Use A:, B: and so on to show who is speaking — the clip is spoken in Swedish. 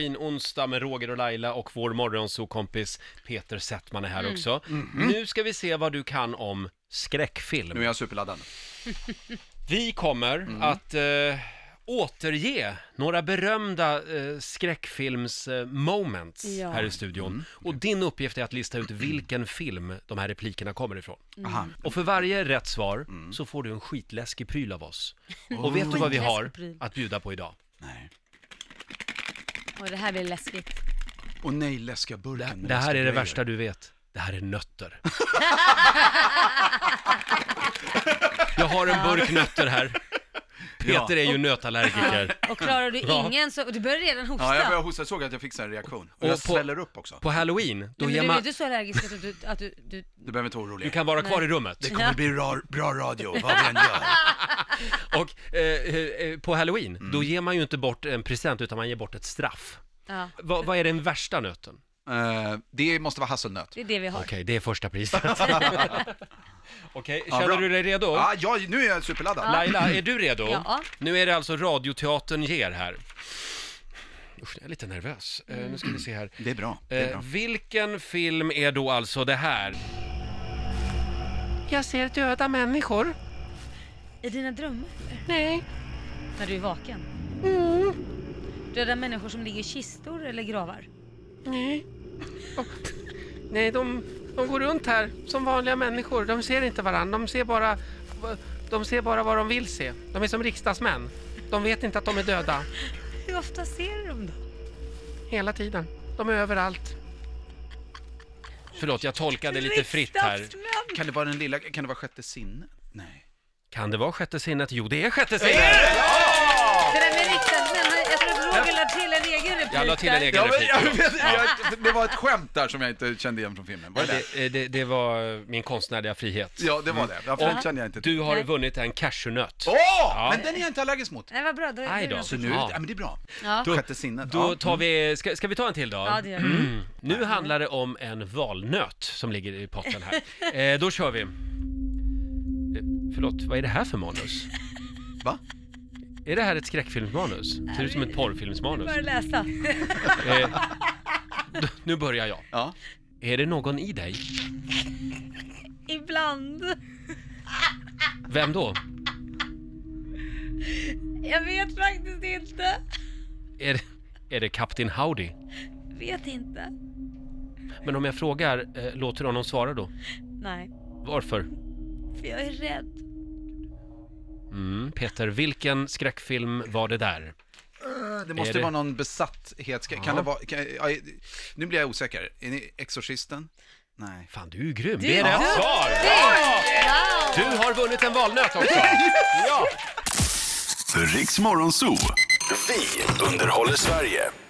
A: Halloween-onsdag med Roger och Laila och vår morgonsokompis Peter Settman är här
B: Mm.
A: också.
B: Mm-hmm.
A: Nu ska vi se vad du kan om skräckfilm.
C: Nu är jag superladdad.
A: Vi kommer
B: Mm.
A: att eh, återge några berömda eh, skräckfilms-moments
B: Ja. Mm.
A: här i studion. Och din uppgift är att lista ut vilken film de här replikerna kommer ifrån.
B: Mm.
C: Aha.
A: Och för varje rätt svar så får du en skitläskig pryl av oss. Och vet du vad vi har
B: Skitläskig pryl.
A: att bjuda på idag?
C: Nej.
B: Och det här blir läskigt.
C: Och nej, läskiga
A: Det,
C: burken. med
A: det här
C: läskiga
A: är det
C: grejer.
A: värsta du vet. Det här är nötter. Jag har en burk nötter här.
C: Ja.
A: Peter är ju nötallergiker.
B: Och klarar du
A: Ja.
B: ingen så... och Du börjar redan hosta.
C: Ja, jag började hosta. Jag såg att jag fick en reaktion. Och,
A: Och
C: jag
A: på-
C: sväller upp också.
A: På halloween, då
B: Nej,
A: ger
B: men du är
A: man...
B: inte så allergisk att du... Att du, du...
C: Du behöver inte vara orolig.
A: Du kan vara kvar i rummet.
C: Det kommer bli ra- bra radio, vad vi än gör.
A: Och eh, eh, på halloween, då ger man ju inte bort en present utan man ger bort ett straff.
B: Ja,
A: Va, vad är den värsta nöten?
C: Eh, det måste vara hasselnöt.
B: det är det vi har.
A: Okej, det är första priset. Okej,
C: Ja,
A: känner
C: bra.
A: du dig redo?
C: Ja, ja, nu är jag superladdad.
A: Laila, är du redo?
B: Ja.
A: Nu är det alltså Radioteatern ger här. Usch, jag är lite nervös. Eh, nu ska vi se här.
C: Det är bra. Det är
A: Eh,
C: bra.
A: vilken film är då alltså det här? Jag ser döda människor.
B: I dina drömmar?
A: Nej.
B: När du är vaken? Mm.
C: Mm.
B: Döda människor som ligger i kistor eller gravar?
A: Nej. Nej, de, de går runt här som vanliga människor. De ser inte varandra. De ser bara, de ser bara vad de vill se. De är som riksdagsmän. De vet inte att de är döda.
B: Hur ofta ser du dem då?
A: Hela tiden. De är överallt. Förlåt, jag tolkade lite fritt här.
B: Riksdagsmän!
C: Kan det vara den lilla, kan det vara sjätte sinnet? Nej.
A: Kan det vara sjätte sinnet? Jo, det är sjätte sinnet!
B: Det där med riksdagsmän, han- jag tror att Roger la till en egen replik
A: Jag la till en
B: där.
A: egen
C: Ja, men,
A: replik.
C: jag vet, jag, det var ett skämt där som jag inte kände igen från filmen. Var det det?
A: Det, eh, det, det var min konstnärliga frihet.
C: Ja, det var det. Varför
A: Mm. Och
C: kände jag inte till?
A: Du har
B: Nej.
A: vunnit en cashewnöt.
C: Åh!
A: Ja.
C: Men den är jag inte allergisk mot.
B: Nej, vad bra. Då,
A: Aj
B: är det
A: då.
B: något.
C: Så nu,
A: Ja.
C: ja. men det är bra.
B: Ja.
A: Då- Mm.
C: Sjätte sinnet.
A: Då
C: ja.
A: tar vi, ska, ska vi ta en till då?
B: ja, det gör vi.
A: Nu handlar det om en valnöt som ligger i potten här. Eh, då kör vi. Eh, förlåt, vad är det här för manus?
C: Va?
A: Är det här ett skräckfilmsmanus? Ser ut som ett porrfilmsmanus.
B: Börja läsa.
A: Eh, d- nu börjar jag.
C: Ja.
A: Är det någon i dig?
B: Ibland.
A: Vem då?
B: Jag vet faktiskt inte.
A: Är, det- är det Kapten Howdy?
B: Vet inte.
A: Men om jag frågar, eh, låter du honom svara då?
B: Nej,
A: Varför?
B: för jag är rädd.
A: Mm, Peter, vilken skräckfilm var det där?
C: Det
A: Är
C: måste
A: det-
C: vara någon besatthet. Ska- Kan det vara... Kan, ja, nu blir jag osäker. Är ni Exorcisten? Nej.
A: Fan, du är ju grym!
B: Du
A: det är
B: är
A: rätt
B: duktig!
A: svar! Du har vunnit en valnöt också! Ja!
D: Riks Morgonzoo. Vi underhåller Sverige.